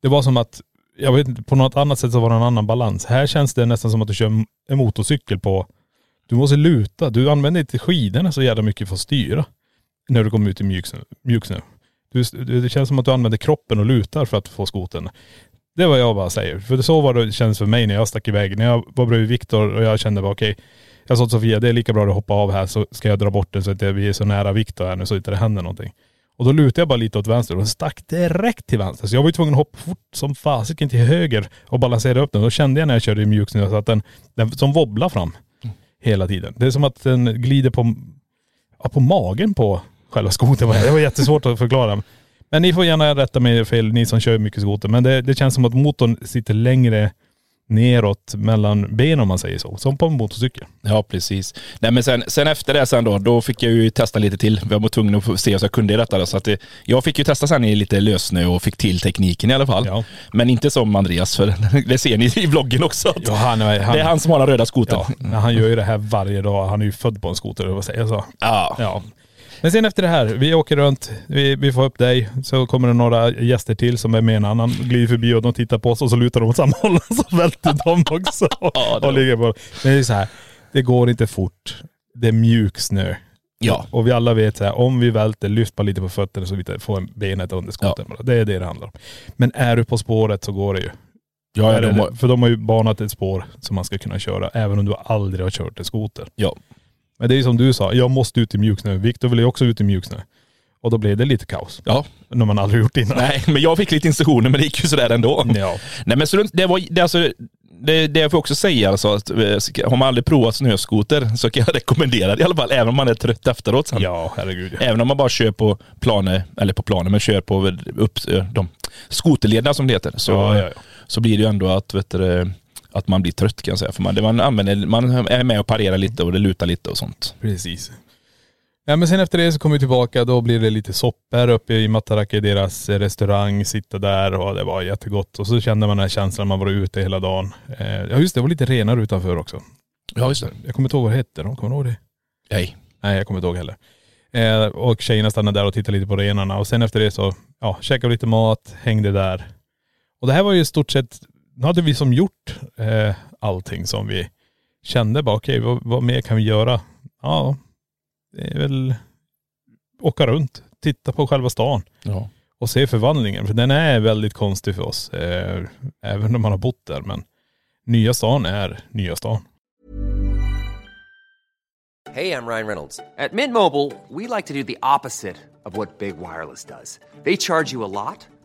[SPEAKER 3] det var som att, jag vet inte, på något annat sätt så var det en annan balans. Här känns det nästan som att du kör m- en motorcykel på, du måste luta. Du använder inte skidorna så jävla mycket för att styra när du kommer ut i mjuksnö. mjuksnö. Du, du, det känns som att du använder kroppen och lutar för att få skoten. Det är vad jag bara säger. För så var det känns för mig när jag stack iväg. När jag var bredvid Viktor och jag kände bara okej, jag sa till Sofia det är lika bra att hoppa av här så ska jag dra bort den så att vi är så nära Viktor här nu så inte det händer någonting. Och då lutade jag bara lite åt vänster och den stack direkt till vänster. Så jag var ju tvungen att hoppa fort som fasiken till höger och balansera upp den. Och Då kände jag när jag körde i mjuk snö så att den, den som wobblar fram hela tiden. Det är som att den glider på, ja, på magen på själva skotern. Det var jättesvårt att förklara. Men ni får gärna rätta mig fel, ni som kör mycket skoter. Men det, det känns som att motorn sitter längre neråt mellan benen om man säger så. Som på en motorcykel.
[SPEAKER 5] Ja, precis. Nej, men sen, sen efter det sen då, då fick jag ju testa lite till. Jag var tvungen att få se så jag kunde detta. Då, så att det, jag fick ju testa sen i lite lössnö och fick till tekniken i alla fall.
[SPEAKER 3] Ja.
[SPEAKER 5] Men inte som Andreas, för det ser ni i vloggen också. Att
[SPEAKER 3] Ja, han är- han-
[SPEAKER 5] det är han som har den röda skotern.
[SPEAKER 3] Ja, men han gör ju det här varje dag. Han är ju född på en skoter, eller vad säger jag så?
[SPEAKER 5] Ja.
[SPEAKER 3] Ja. Men sen efter det här, vi åker runt, vi, vi får upp dig, så kommer det några gäster till som är med en annan, glider förbi och de tittar på oss och så lutar de åt samma håll och så välter de också.
[SPEAKER 5] det
[SPEAKER 3] och
[SPEAKER 5] var-
[SPEAKER 3] ligger på. Men det är så här, det går inte fort. Det är mjuk snö.
[SPEAKER 5] Ja.
[SPEAKER 3] Och vi alla vet så här, om vi välter, lyft bara lite på fötterna så vi inte får benet under skotern. bara. Det är det det handlar om. Men är du på spåret så går det ju.
[SPEAKER 5] Ja,
[SPEAKER 3] Där
[SPEAKER 5] de
[SPEAKER 3] är
[SPEAKER 5] har,
[SPEAKER 3] det. För de har ju banat ett spår som man ska kunna köra även om du aldrig har kört en skoter.
[SPEAKER 5] ja.
[SPEAKER 3] Men det är ju som du sa, jag måste ut i mjuksnö. Viktor ville ju också ut i mjuksnö. Och då blev det lite kaos.
[SPEAKER 5] ja.
[SPEAKER 3] När man aldrig gjort det innan.
[SPEAKER 5] Nej, men jag fick lite instruktioner men det gick ju sådär ändå.
[SPEAKER 3] Ja.
[SPEAKER 5] Nej men så det- det var, det alltså, det, det jag får också säga alltså att eh, ska- har man aldrig provat snöskoter så kan jag rekommendera det i alla fall, även om man är trött efteråt sen.
[SPEAKER 3] Ja, herregud. ja.
[SPEAKER 5] Även om man bara kör på planer, eller på planer, men kör på upp, eh, de skoterlederna som det heter, så,
[SPEAKER 3] Ja, ja, ja.
[SPEAKER 5] så blir det ju ändå att, vet du, eh, att man blir trött kan jag säga. För man, det- man, använder, man är med och parerar lite och det lutar lite och sånt.
[SPEAKER 3] Precis. Ja, men sen efter det så kom vi tillbaka, då blev det lite soppor uppe i Mataraki, deras eh, restaurang, sitta där och det var jättegott. Och så kände man den här känslan, man var ute hela dagen. Eh, Ja just det, det var lite renar utanför också.
[SPEAKER 5] Ja, just det.
[SPEAKER 3] Jag kommer inte ihåg vad det hette, de kommer du ihåg det?
[SPEAKER 5] Nej.
[SPEAKER 3] Nej, jag kommer inte ihåg heller. Eh, och tjejerna stannade där och tittade lite på renarna och sen efter det så, ja, käkade vi lite mat, hängde där. Och det här var ju i stort sett, nu hade vi som gjort eh, allting som vi kände bara, okej, vad, vad mer kan vi göra? Ja, det är väl åka runt, titta på själva stan
[SPEAKER 5] Ja.
[SPEAKER 3] och se förvandlingen. För den är väldigt konstig för oss, eh, även om man har bott där. Men nya stan är nya stan.
[SPEAKER 6] Hey, I'm Ryan Reynolds. At Mint Mobile, we like to do the opposite of what Big Wireless does. They charge you a lot,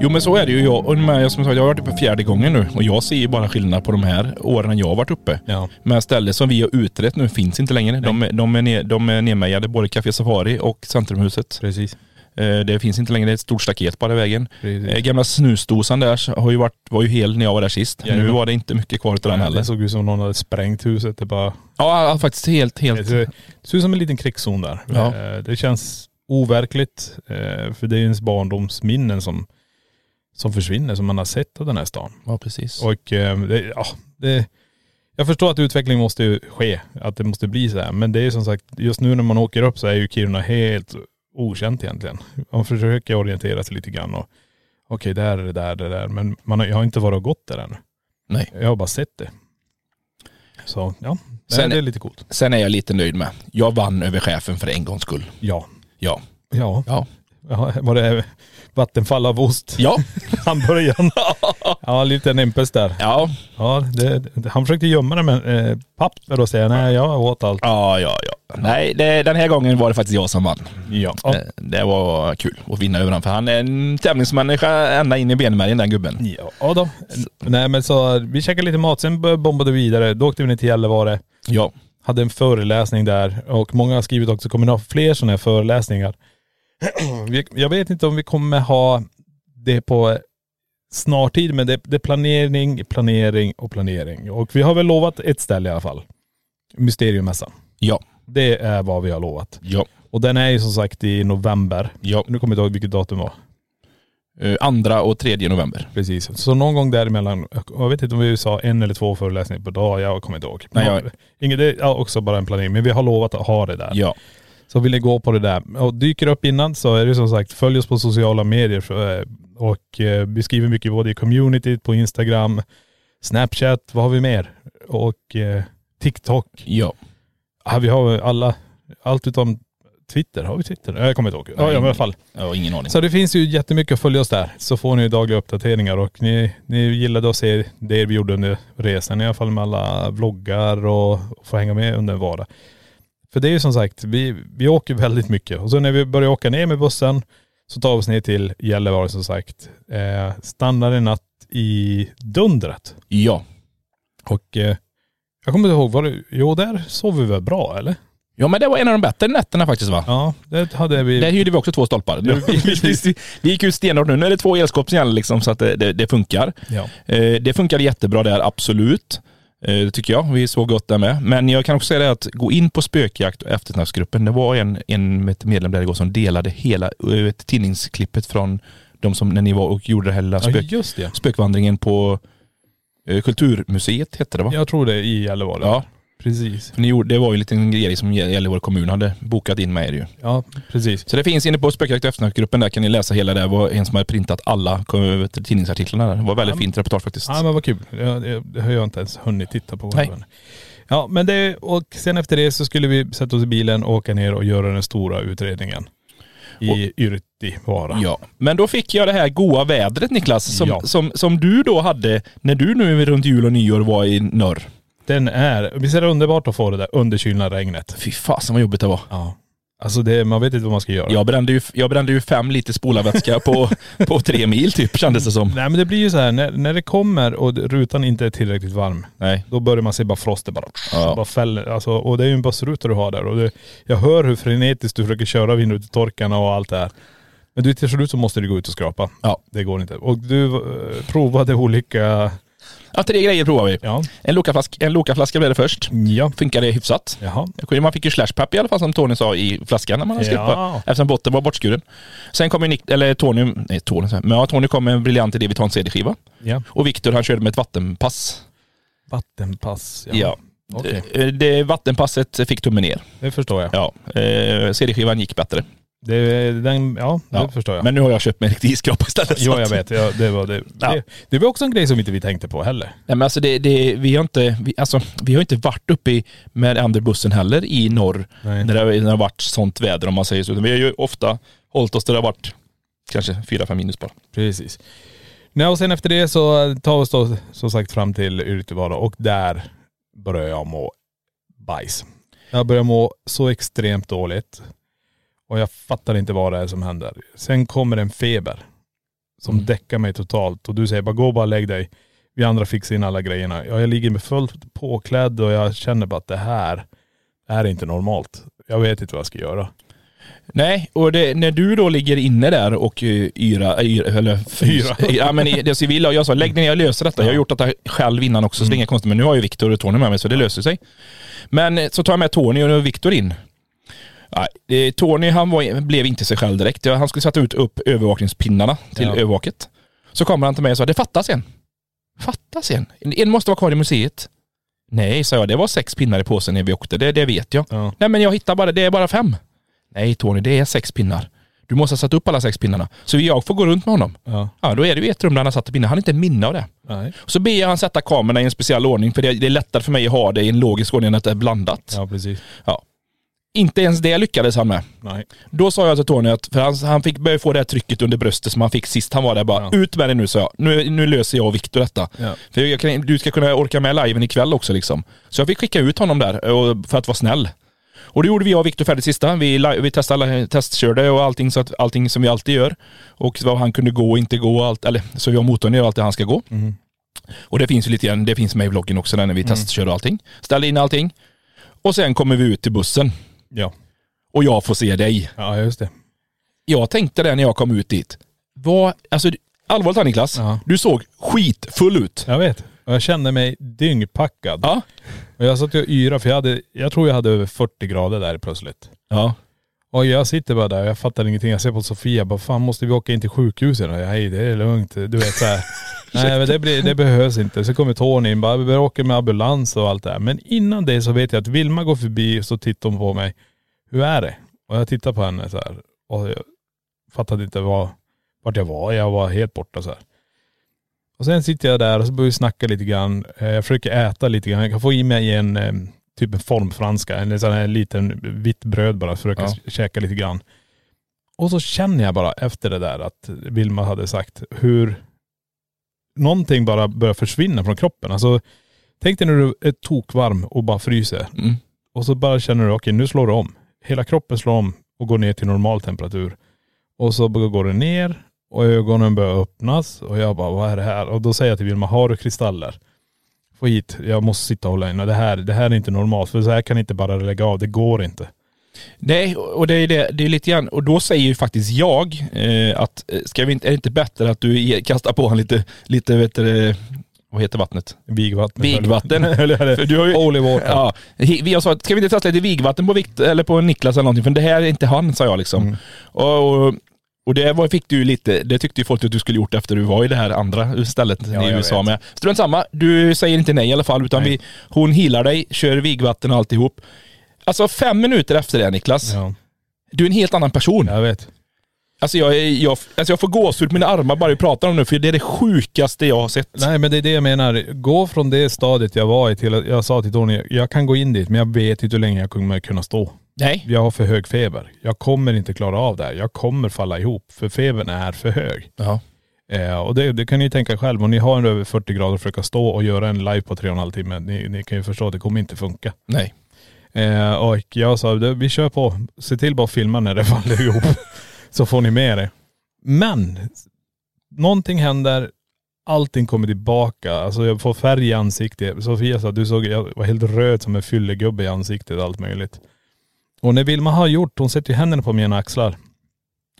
[SPEAKER 5] Jo men så är det ju. Jag, och med, som sagt, jag har varit uppe fjärde gången nu och jag ser ju bara skillnad på de här åren jag har varit uppe.
[SPEAKER 3] Ja.
[SPEAKER 5] Men stället som vi har utrett nu finns inte längre. De, de, är ne, de är nedmejade, både Café Safari och Centrumhuset.
[SPEAKER 3] Precis.
[SPEAKER 5] Eh, Det finns inte längre, det är ett stort staket på den vägen.
[SPEAKER 3] Precis.
[SPEAKER 5] Eh, Gamla snusdosan där så har ju varit, var ju hel när jag var där sist.
[SPEAKER 3] Jajamän.
[SPEAKER 5] nu var det inte mycket kvar utav den heller.
[SPEAKER 3] Det såg ut som om någon hade sprängt huset. Det bara
[SPEAKER 5] Ja, ja, faktiskt helt, helt.
[SPEAKER 3] Det ser- Alltså, det ser ut som en liten krigszon där.
[SPEAKER 5] Ja.
[SPEAKER 3] Eh, Det känns overkligt. eh, För det är ens barndomsminnen som, som försvinner, som man har sett av den här stan.
[SPEAKER 5] Ja, precis.
[SPEAKER 3] Och eh, det, ja, det, jag förstår att utveckling måste ju ske, att det måste bli så här. Men det är som sagt, just nu när man åker upp så är ju Kiruna helt okänt egentligen. Man försöker orientera sig lite grann och okej, där är det där, det där. Men man har, jag har inte varit och gått där än.
[SPEAKER 5] Nej.
[SPEAKER 3] Jag har bara sett det. Så ja, det,
[SPEAKER 5] Sen-
[SPEAKER 3] det är lite coolt.
[SPEAKER 5] Sen är jag lite nöjd med. Jag vann över chefen för en gångs skull.
[SPEAKER 3] Ja.
[SPEAKER 5] Ja.
[SPEAKER 3] Ja.
[SPEAKER 5] Ja.
[SPEAKER 3] ja, var det Vattenfall av ost?
[SPEAKER 5] Ja.
[SPEAKER 3] Hamburgaren. ja, lite en impes där.
[SPEAKER 5] Ja.
[SPEAKER 3] Ja, det, det- han försökte gömma det med eh, papper och säga nej, jag åt allt.
[SPEAKER 5] Ja, ja, ja. Nej, det, den här gången var det faktiskt jag som vann.
[SPEAKER 3] Ja.
[SPEAKER 5] Eh, Det var kul att vinna över honom, för han är en tävlingsmänniska ända in i benmärgen den gubben.
[SPEAKER 3] Ja, ja då. Nej men så vi käkade lite mat, sen bör- bombade vi vidare. Då åkte vi ner till Gällivare,
[SPEAKER 5] Ja.
[SPEAKER 3] hade en föreläsning där och många har skrivit också, kommer ni ha fler sådana här föreläsningar? Vi- Jag vet inte om vi kommer ha det på snar tid, men det, det är planering, planering och planering. Och vi har väl lovat ett ställe i alla fall. Mysteriummässan.
[SPEAKER 5] Ja,
[SPEAKER 3] Det är vad vi har lovat.
[SPEAKER 5] ja,
[SPEAKER 3] Och den är ju som sagt i november.
[SPEAKER 5] ja.
[SPEAKER 3] Nu kommer jag inte ihåg vilket datum det var.
[SPEAKER 5] Eh, Andra och tredje november.
[SPEAKER 3] Precis. Så någon gång däremellan, jag vet inte om vi sa en eller två föreläsningar på dag, jag kommer inte ihåg.
[SPEAKER 5] Nej, jag-
[SPEAKER 3] Inget, det är också bara en planering, men vi har lovat att ha det där.
[SPEAKER 5] Ja.
[SPEAKER 3] Så vill ni gå på det där. Och dyker det upp innan så är det som sagt, följ oss på sociala medier. För, eh, och eh, vi skriver mycket både i communityt, på Instagram, Snapchat, vad har vi mer? Och eh, TikTok.
[SPEAKER 5] Ja.
[SPEAKER 3] Ja, vi har alla, allt utom Twitter. Har vi Twitter? Jag kommer inte ihåg. Ja, i alla fall.
[SPEAKER 5] Ja, ingen aning.
[SPEAKER 3] Så det finns ju jättemycket att följa oss där. Så får ni ju dagliga uppdateringar och ni, ni gillade att se det vi gjorde under resan i alla fall med alla vloggar och få hänga med under en vardag. För det är ju som sagt, vi, vi åker väldigt mycket och så när vi börjar åka ner med bussen så tar vi oss ner till Gällivare som sagt. Eh, stannar en natt i Dundret
[SPEAKER 5] Ja.
[SPEAKER 3] och eh, jag kommer inte ihåg, var det, jo där sov vi väl bra eller?
[SPEAKER 5] Ja men det var en av de bättre nätterna faktiskt va?
[SPEAKER 3] Ja, det hade vi.
[SPEAKER 5] Där hyrde vi också två stolpar. Vi, vi, vi gick ut stenhårt nu. Nu är det två elskåp som gäller liksom, så att det, det, det funkar.
[SPEAKER 3] Ja.
[SPEAKER 5] Eh, det funkar jättebra där, absolut. Eh, det tycker jag. Vi såg gott där med. Men jag kan också säga det att gå in på spökjakt och eftersnacksgruppen. Det var en, en med ett medlem där igår som delade hela eh, ett tidningsklippet från de som, när ni var och gjorde det här lilla
[SPEAKER 3] ja,
[SPEAKER 5] spök,
[SPEAKER 3] just det.
[SPEAKER 5] spökvandringen på eh, Kulturmuseet hette det va?
[SPEAKER 3] Jag tror det är i Gällivare.
[SPEAKER 5] Ja.
[SPEAKER 3] Precis.
[SPEAKER 5] Ni gjorde, det var ju en liten grej som Gällivare kommun hade bokat in med er ju.
[SPEAKER 3] Ja, precis.
[SPEAKER 5] Så det finns inne på Spökjakt och eftersnackgruppen där kan ni läsa hela det. Det var en som hade printat alla kom- tidningsartiklarna där. Det var väldigt fint reportage faktiskt.
[SPEAKER 3] Ja men vad kul. Ja, det, det har jag inte ens hunnit titta på.
[SPEAKER 5] Nej.
[SPEAKER 3] Ja men det, och sen efter det så skulle vi sätta oss i bilen och åka ner och göra den stora utredningen. I
[SPEAKER 5] Och-
[SPEAKER 3] Yrttivaara.
[SPEAKER 5] Ja. Men då fick jag det här goa vädret Niklas, som,
[SPEAKER 3] Ja.
[SPEAKER 5] som, som du då hade när du nu runt jul och nyår var i norr.
[SPEAKER 3] Den är, visst är det underbart att få det där underkylna regnet?
[SPEAKER 5] Fy fasen vad jobbigt det var.
[SPEAKER 3] Ja. Alltså det, man vet inte vad man ska göra.
[SPEAKER 5] Jag brände ju, jag brände ju fem liter spolarvätska på, på tre mil typ kändes det som.
[SPEAKER 3] Nej men det blir ju så här, när, när det kommer och rutan inte är tillräckligt varm,
[SPEAKER 5] Nej.
[SPEAKER 3] då börjar man se bara frosten bara,
[SPEAKER 5] Ja.
[SPEAKER 3] bara fäller. Alltså, och det är ju en bussruta du har där. Och det, jag hör hur frenetiskt du försöker köra vindrutetorkarna och allt det här. Men du, till slut så måste du gå ut och skrapa.
[SPEAKER 5] Ja.
[SPEAKER 3] Det går inte. Och du eh, provade olika..
[SPEAKER 5] Ja, tre grejer provar vi.
[SPEAKER 3] Ja.
[SPEAKER 5] En Lokaflaska, en Lokaflaska blev det först.
[SPEAKER 3] Ja.
[SPEAKER 5] Funkade hyfsat.
[SPEAKER 3] Jaha.
[SPEAKER 5] Man fick ju slashpap i alla fall som Tony sa i flaskan när man hade skrivit
[SPEAKER 3] Ja.
[SPEAKER 5] på. Eftersom botten var bortskuren. Sen kom ju Nick, eller Tony, nej Tony, sa jag. men ja, Tony kom med en briljant idé, vi tar en CD-skiva.
[SPEAKER 3] Ja.
[SPEAKER 5] Och Viktor han körde med ett vattenpass.
[SPEAKER 3] Vattenpass.
[SPEAKER 5] Ja.
[SPEAKER 3] Okej.
[SPEAKER 5] Eh, Det vattenpasset fick tummen ner.
[SPEAKER 3] Det förstår jag.
[SPEAKER 5] Ja. Eh, CD-skivan gick bättre.
[SPEAKER 3] Det, den, ja, det
[SPEAKER 5] Ja.
[SPEAKER 3] förstår jag.
[SPEAKER 5] Men nu har jag köpt mig en riktig iskrapa istället.
[SPEAKER 3] Jo
[SPEAKER 5] så
[SPEAKER 3] jag
[SPEAKER 5] att-
[SPEAKER 3] vet, ja, det, var det.
[SPEAKER 5] Ja.
[SPEAKER 3] det. Det var också en grej som inte vi tänkte på heller.
[SPEAKER 5] Nej men alltså det, det, vi har inte, vi, alltså, vi har inte varit uppe i, med andra bussen heller i norr
[SPEAKER 3] Nej.
[SPEAKER 5] när det, har- när det har varit sånt väder om man säger så. Utan vi har ju ofta hållit oss där det har varit kanske 4-5 minus bara.
[SPEAKER 3] Precis. Nej, och sen efter det så tar vi oss då som sagt fram till Yrtevara och där börjar jag må bajs. Jag börjar må så extremt dåligt och jag fattar inte vad det är som händer. Sen kommer en feber som däckar mig totalt och du säger bara gå och bara lägg dig. Vi andra fixar in alla grejerna. Ja, jag ligger med fullt påklädd och jag känner bara att det här är inte normalt. Jag vet inte vad jag ska göra.
[SPEAKER 5] Nej, och det, när du då ligger inne där och eh, yra, eh, yra eller fys-
[SPEAKER 3] Yra.
[SPEAKER 5] ja men i det civila, och jag sa lägg ner, jag löser detta. Jag har gjort detta själv innan också, så
[SPEAKER 3] Mm.
[SPEAKER 5] det är inga konstigt. Men nu har ju Viktor och Tony med mig så det löser sig. Men eh, så tar jag med Tony och Viktor in. Nej, eh, Tony han var, blev inte sig själv direkt. Ja, Han skulle sätta ut upp övervakningspinnarna till
[SPEAKER 3] Ja.
[SPEAKER 5] övervaket. Så kommer han till mig och sa, det fattas en. Fattas en? En- En måste vara kvar i museet. Nej, sa jag, det var sex pinnar i påsen när vi åkte, det, det vet jag.
[SPEAKER 3] Ja.
[SPEAKER 5] Nej men jag hittar bara, det är bara fem. Nej Tony, det är sex pinnar. Du måste ha satt upp alla sex pinnarna. Så jag får gå runt med honom.
[SPEAKER 3] Ja.
[SPEAKER 5] Ja, då är det ju ett rum där han har satt pinnar. Han har inte minne av det.
[SPEAKER 3] Nej.
[SPEAKER 5] Så ber jag han sätta kamerorna i en speciell ordning, för det, det är lättare för mig att ha det i en logisk ordning än att det är blandat.
[SPEAKER 3] Ja, precis.
[SPEAKER 5] Inte ens det lyckades han med.
[SPEAKER 3] Nej.
[SPEAKER 5] Då sa jag till Tony att, för han, han fick börja få det här trycket under bröstet som han fick sist han var där. Bara,
[SPEAKER 3] Ja.
[SPEAKER 5] Ut med det nu, sa jag. Nu, nu löser jag och Viktor detta.
[SPEAKER 3] Ja.
[SPEAKER 5] För jag kan, du ska kunna orka med liven ikväll också liksom. Så jag fick skicka ut honom där eh, och, för att vara snäll. Och det gjorde vi, jag och Viktor färdigt sista. Vi, li- vi testade, alla- eh, testkörde och allting, så att, allting som vi alltid gör. Och vad han kunde gå och inte gå. och Allt, eller, så vi har motorn gör allt det han ska gå.
[SPEAKER 3] Mm.
[SPEAKER 5] Och det finns ju lite grann, det finns med i vloggen också där när vi testkörde och allting. Ställde in allting. Och sen kommer vi ut till bussen
[SPEAKER 3] Ja.
[SPEAKER 5] och jag får se dig.
[SPEAKER 3] Ja, just det.
[SPEAKER 5] Jag tänkte det när jag kom ut dit. Vad, alltså allvarligt här Niklas,
[SPEAKER 3] Ja.
[SPEAKER 5] du såg skitfull ut.
[SPEAKER 3] Jag vet. Och jag kände mig dyngpackad.
[SPEAKER 5] Ja.
[SPEAKER 3] Och jag satt ju och yrade för jag, hade, jag tror jag hade över 40 grader där plötsligt.
[SPEAKER 5] Ja.
[SPEAKER 3] Och jag sitter bara där och jag fattar ingenting. Jag ser på Sofia jag bara, fan måste vi åka in till sjukhuset? Och jag, Nej det är lugnt. Du vet så här. Nej men det, blir, det behövs inte. Så kommer Tony in bara, vi börjar åka med ambulans och allt det här. Men innan det så vet jag att Vilma går förbi så tittar hon på mig. Hur är det? Och jag tittar på henne så här. Och jag fattade inte vad, vart jag var. Jag var helt borta så här. Och sen sitter jag där och så börjar vi snacka lite grann. Eh, Jag försöker äta lite grann. Jag kan få i mig en eh, typ en formfranska, en sån här liten vitt bröd bara. Försöka
[SPEAKER 5] Ja.
[SPEAKER 3] ja. käka lite grann. Och så känner jag bara efter det där att Vilma hade sagt hur någonting bara börjar försvinna från kroppen. Alltså tänk dig när du är tokvarm och bara fryser.
[SPEAKER 5] Mm.
[SPEAKER 3] Och så bara känner du, okej nu slår det om. Hela kroppen slår om och går ner till normal temperatur. Och så bara går det ner och ögonen börjar öppnas och jag bara, vad är det här? Och då säger jag till Vilma, har du kristaller? Få hit, jag måste sitta och hålla in. Och Det här, det här är inte normalt, för så här kan jag inte bara lägga av, det går inte.
[SPEAKER 5] Nej, och det är, det, det är lite grann, och då säger ju faktiskt jag eh, att eh, ska vi inte, är det inte bättre att du ge- kastar på honom lite, lite vet du, det, vad heter vattnet?
[SPEAKER 3] Vigvatten.
[SPEAKER 5] Vigvatten.
[SPEAKER 3] Eller, eller,
[SPEAKER 5] För du har ju-
[SPEAKER 3] holy water.
[SPEAKER 5] Ja, hi- jag sa att ska vi inte testa lite vigvatten på, Vikt, eller på Niklas eller någonting, för det här är inte han, sa jag liksom.
[SPEAKER 3] Mm.
[SPEAKER 5] Och, och, och det var, fick du ju lite, det tyckte ju folk att du skulle gjort efter du var i det här andra stället
[SPEAKER 3] Ja,
[SPEAKER 5] i
[SPEAKER 3] jag
[SPEAKER 5] USA
[SPEAKER 3] vet.
[SPEAKER 5] med. Strunt samma, du säger inte nej i alla fall, utan
[SPEAKER 3] Nej.
[SPEAKER 5] vi, hon healar dig, kör vigvatten och alltihop. Alltså fem minuter efter det Niklas,
[SPEAKER 3] ja,
[SPEAKER 5] du är en helt annan person.
[SPEAKER 3] jag vet.
[SPEAKER 5] Alltså jag, är- jag, alltså jag får gåshud på mina armar bara vi pratar om det, för det är det sjukaste jag har sett.
[SPEAKER 3] Nej men det är det jag menar. Gå från det stadiet jag var i till att jag sa till Tony, jag kan gå in dit men jag vet inte hur länge jag kommer kunna stå.
[SPEAKER 5] Nej.
[SPEAKER 3] Jag har för hög feber. Jag kommer inte klara av det här. Jag kommer falla ihop för febern är för hög.
[SPEAKER 5] Ja.
[SPEAKER 3] Eh, och det, det kan ni ju tänka själv. Om ni har en över 40 grader och försöka stå och göra en live på tre och en halv timme, ni, ni kan ju förstå att det kommer inte funka.
[SPEAKER 5] Nej.
[SPEAKER 3] Eh, och jag sa, "Du, vi kör på. Se till bara att filma när det faller ihop. så får ni med det. Men, någonting händer. Allting kommer tillbaka. Alltså jag får färg i ansiktet. Sofia sa, du såg, jag var helt röd som en fyllegubbe i ansiktet och allt möjligt. Och när Vilma har gjort, hon sätter ju händerna på mina axlar.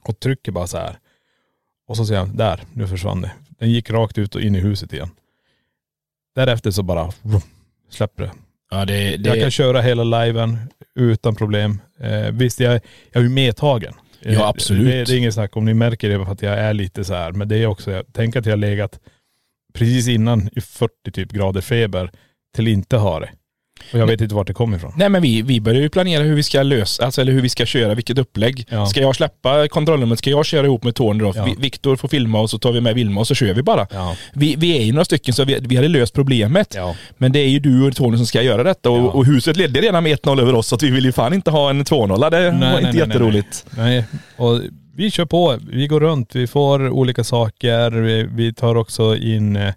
[SPEAKER 3] Och trycker bara så här. Och så säger jag, där, nu försvann det. Den gick rakt ut och in i huset igen. Därefter så bara vroom, släpper det.
[SPEAKER 5] Ja, det, Eh, det,
[SPEAKER 3] Jag kan köra hela liven utan problem. Eh, visst, jag, jag är ju medtagen. Eh,
[SPEAKER 5] Ja, absolut.
[SPEAKER 3] Det, det är inget snack om. Ni märker det för att jag är lite så här. Men det är också, jag, tänk att jag har legat precis innan i 40 typ grader feber till inte ha det. Och jag vet inte vart det kommer ifrån.
[SPEAKER 5] Nej men vi, vi börjar ju planera hur vi ska lösa, alltså eller hur vi ska köra, vilket upplägg.
[SPEAKER 3] Ja.
[SPEAKER 5] Ska jag släppa kontrollnumret, ska jag köra ihop med Tony då?
[SPEAKER 3] Ja.
[SPEAKER 5] Vi- Viktor får filma och så tar vi med Vilma och så kör vi bara.
[SPEAKER 3] Ja.
[SPEAKER 5] Vi, vi är ju några stycken så vi, vi hade löst problemet.
[SPEAKER 3] Ja.
[SPEAKER 5] Men det är ju du och Tony som ska göra detta och,
[SPEAKER 3] Ja.
[SPEAKER 5] och huset ledde redan med 1-0 över oss så att vi vill ju fan inte ha en 2-0. Det var inte jätteroligt.
[SPEAKER 3] Nej, och vi kör på. Vi går runt, vi får olika saker. Vi, vi tar också in eh,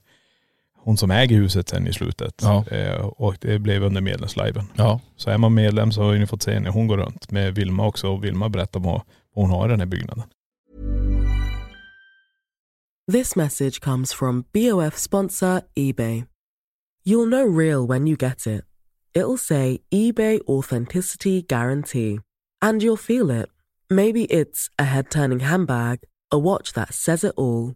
[SPEAKER 3] hon som äger huset sen i slutet.
[SPEAKER 5] Ja.
[SPEAKER 3] Eh, och det blev under medlemsliven.
[SPEAKER 5] Ja.
[SPEAKER 3] Så är man medlem så har ni fått se när hon går runt med Vilma också. Och Vilma berättar vad hon har i den här byggnaden.
[SPEAKER 7] This message comes from BOF sponsor eBay. You'll know real when you get it. It'll say eBay Authenticity Guarantee. And you'll feel it. Maybe it's a head turning handbag, a watch that says it all,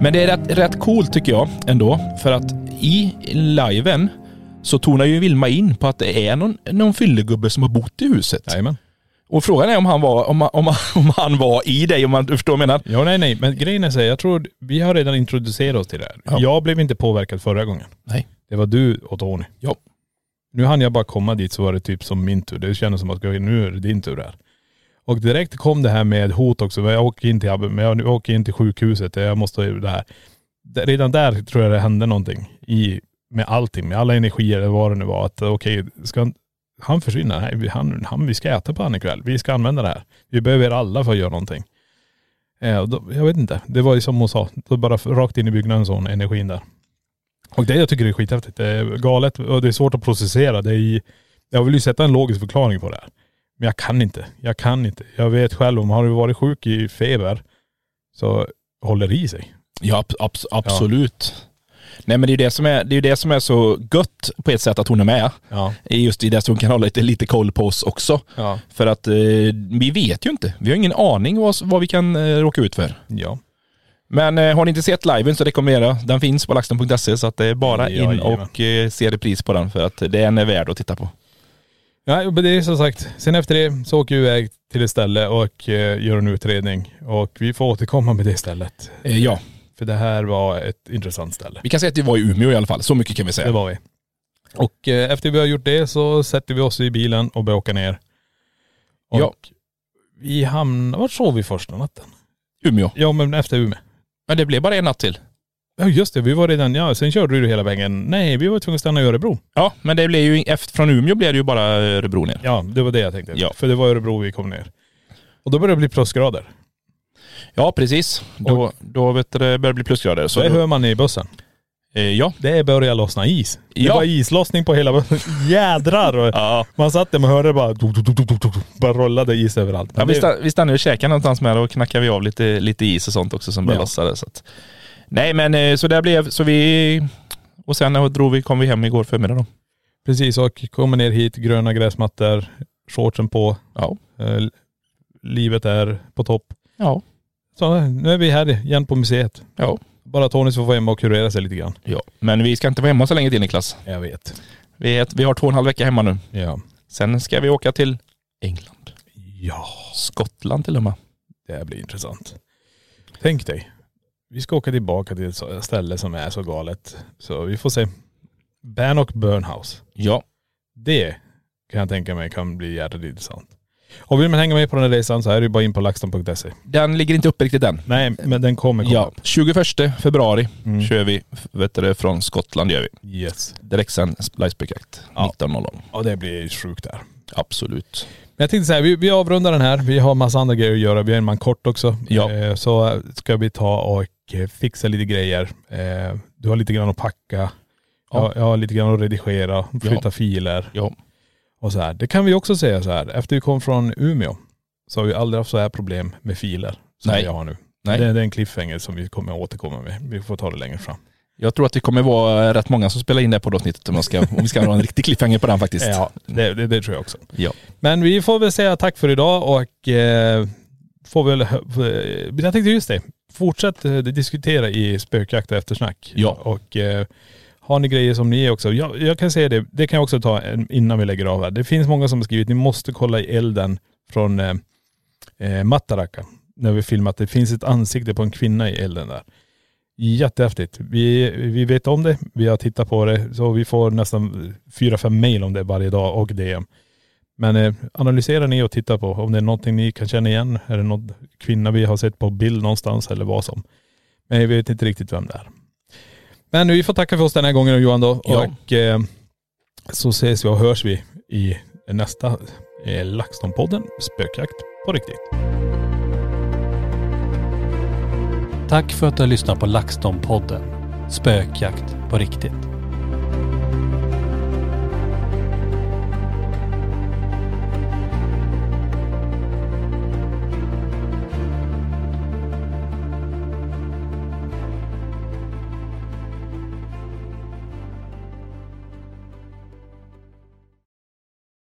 [SPEAKER 5] Men det är rätt, rätt coolt tycker jag ändå. För att i liven så tonar ju Vilma in på att det är någon, någon fyllegubbe som har bott i huset.
[SPEAKER 3] Jajamän.
[SPEAKER 5] Och frågan är om han var, om, om, om han var i dig, om man, du förstår vad jag menar.
[SPEAKER 3] Ja, nej, nej. Men grejen är så här, jag tror vi har redan introducerat oss till det här.
[SPEAKER 5] Ja.
[SPEAKER 3] Jag blev inte påverkad förra gången.
[SPEAKER 5] Nej.
[SPEAKER 3] Det var du och Tony.
[SPEAKER 5] Ja.
[SPEAKER 3] Nu hann jag bara komma dit så var det typ som min tur. Det kändes som att "Okej, nu är det din tur här. Och direkt kom det här med hot också. Jag åker in till, men jag jag åker in till sjukhuset. Jag måste ha det här. D- Redan där tror jag det hände någonting. I, med allting, med alla energier eller vad det nu var. Att okej, ska han- han försvinna? Nej, vi- han, han, vi ska äta på han ikväll. Vi ska använda det här. Vi behöver er alla för att göra någonting. Eh, och då, jag vet inte. Det var ju som hon sa. Då bara f- rakt in i byggnaden sån energin där. Och det jag tycker är skithäftigt. Det är galet och det är svårt att processera. Det är, i- jag vill ju sätta en logisk förklaring på det här. Men jag kan inte. Jag kan inte. Jag vet själv om har du varit sjuk i feber så håller det i sig.
[SPEAKER 5] Ja, ab- abs- absolut. Nej men det är ju det som är, det är ju det som är så gött på ett sätt att hon är med.
[SPEAKER 3] Ja.
[SPEAKER 5] är Just i det att hon kan hålla lite, lite koll på oss också.
[SPEAKER 3] Ja.
[SPEAKER 5] För att eh, vi vet ju inte. Vi har ingen aning vad, vad vi kan eh, råka ut för.
[SPEAKER 3] Ja.
[SPEAKER 5] Men eh, har ni inte sett liven så rekommenderar jag. Den finns på laxton.se så att det är bara in
[SPEAKER 3] Jajamän.
[SPEAKER 5] och eh, se repris på den för att den är värd att titta på.
[SPEAKER 3] Nej, men det är som sagt. Sen efter det så åker vi iväg till ett ställe och eh, gör en utredning. Och vi får återkomma med det stället.
[SPEAKER 5] Eh, ja,
[SPEAKER 3] För det här var ett intressant ställe.
[SPEAKER 5] vi kan säga att vi var i Umeå i alla fall. Så mycket kan vi säga.
[SPEAKER 3] Det var vi. Och eh, efter vi har gjort det så sätter vi oss i bilen och börjar åka ner. Och
[SPEAKER 5] Ja.
[SPEAKER 3] vi hamnar, var sov vi första natten?
[SPEAKER 5] Umeå.
[SPEAKER 3] Ja men efter Umeå.
[SPEAKER 5] Men det blev bara en natt till.
[SPEAKER 3] Ja just det, vi var redan, ja sen körde du hela vägen. Nej vi var tvungna att stanna i Örebro.
[SPEAKER 5] Ja, men det blev ju, efter, från Umeå blev det ju bara eh, Örebro ner.
[SPEAKER 3] Ja det var det jag tänkte.
[SPEAKER 5] Ja.
[SPEAKER 3] För det var Örebro vi kom ner. Och då började det bli plusgrader.
[SPEAKER 5] Ja, precis. Då, då vet du, det börjar det bli plusgrader. Så
[SPEAKER 3] det
[SPEAKER 5] då-
[SPEAKER 3] hör man i bussen.
[SPEAKER 5] eh, ja.
[SPEAKER 3] Det börjar lossna is. Det
[SPEAKER 5] Ja.
[SPEAKER 3] var islossning på hela bussen. Jädrar! Och
[SPEAKER 5] Ja.
[SPEAKER 3] Man satt där man hörde bara... Bara rollade is överallt.
[SPEAKER 5] Ja,
[SPEAKER 3] Men
[SPEAKER 5] vi,
[SPEAKER 3] det-
[SPEAKER 5] stann, vi stannade och käkade någonstans med och knackade vi av lite, lite is och sånt också som började
[SPEAKER 3] Ja.
[SPEAKER 5] lossade. Så att. Nej men eh, så där blev, så vi, och sen när vi drog vi, kom vi hem igår förmiddag då.
[SPEAKER 3] Precis, och kommer ner hit, gröna gräsmattor, shortsen på,
[SPEAKER 5] Ja.
[SPEAKER 3] eh, livet är på topp.
[SPEAKER 5] Ja.
[SPEAKER 3] Så eh, nu är vi här igen på museet.
[SPEAKER 5] Ja.
[SPEAKER 3] Bara Tony ska få vara hemma och kurera sig lite grann.
[SPEAKER 5] ja. Men vi ska inte vara hemma så länge till Niklas.
[SPEAKER 3] Jag vet.
[SPEAKER 5] Vi, är, vi har två och en halv vecka hemma nu.
[SPEAKER 3] Ja.
[SPEAKER 5] Sen ska vi åka till England.
[SPEAKER 3] Ja,
[SPEAKER 5] Skottland till och med.
[SPEAKER 3] det här blir intressant. Tänk dig, vi ska åka tillbaka till ett så- ställe som är så galet. Så vi får se. Ban och Burnhouse.
[SPEAKER 5] Ja.
[SPEAKER 3] Det kan jag tänka mig kan bli jävligt intressant. Och vill man hänga med på den här resan så är det ju bara in på laxton.se.
[SPEAKER 5] Den ligger inte uppe riktigt än.
[SPEAKER 3] Nej, men den kommer komma.
[SPEAKER 5] Ja. 21 februari
[SPEAKER 3] Mm.
[SPEAKER 5] kör vi, f- vet du, det, från Skottland gör vi.
[SPEAKER 3] Yes.
[SPEAKER 5] Direktsänd livespojkjakt
[SPEAKER 3] Ja.
[SPEAKER 5] 19.00.
[SPEAKER 3] Ja det blir sjukt där.
[SPEAKER 5] Absolut.
[SPEAKER 3] Men jag tänkte så här, vi, vi avrundar den här. Vi har massa andra grejer att göra. Vi har en man kort också.
[SPEAKER 5] Ja.
[SPEAKER 3] Eh, så ska vi ta och eh, fixa lite grejer. Eh, du har lite grann att packa. Jag, jag har lite grann att redigera, flytta
[SPEAKER 5] Ja.
[SPEAKER 3] filer
[SPEAKER 5] Ja.
[SPEAKER 3] och så här. Det kan vi också säga så här, efter vi kom från Umeå så har vi aldrig haft så här problem med filer som
[SPEAKER 5] Nej.
[SPEAKER 3] vi har nu.
[SPEAKER 5] Nej.
[SPEAKER 3] Det, det är en cliffhanger som vi kommer att återkomma med. Vi får ta det längre fram.
[SPEAKER 5] Jag tror att det kommer vara rätt många som spelar in det här poddavsnittet om, jag ska, om vi ska ha en riktig cliffhanger på den faktiskt.
[SPEAKER 3] Ja, det, det, det tror jag också.
[SPEAKER 5] ja.
[SPEAKER 3] Men vi får väl säga tack för idag och eh, får väl, eh, jag tänkte just det, fortsätt eh, diskutera i spökjakt och eftersnack.
[SPEAKER 5] Ja.
[SPEAKER 3] Och eh, har ni grejer som ni är också, jag, jag kan säga det, det kan jag också ta en- innan vi lägger av här. Det finns många som har skrivit, ni måste kolla i elden från eh, eh, Mataraka, när vi filmat, det finns ett ansikte på en kvinna i elden där. Jättehäftigt. Vi, vi vet om det, vi har tittat på det, så vi får nästan fyra, fem mejl om det varje dag och DM. Men eh, analysera ni och titta på om det är någonting ni kan känna igen. Är det någon kvinna vi har sett på bild någonstans eller vad som. Men vi vet inte riktigt vem det är. Men vi får tacka för oss den här gången då, Johan då.
[SPEAKER 5] Ja.
[SPEAKER 3] Och eh, så ses vi och hörs vi i nästa eh, LaxTon-podden Spökjakt på riktigt.
[SPEAKER 2] Tack för att du har lyssnat på LaxTon-podden Spökjakt på riktigt.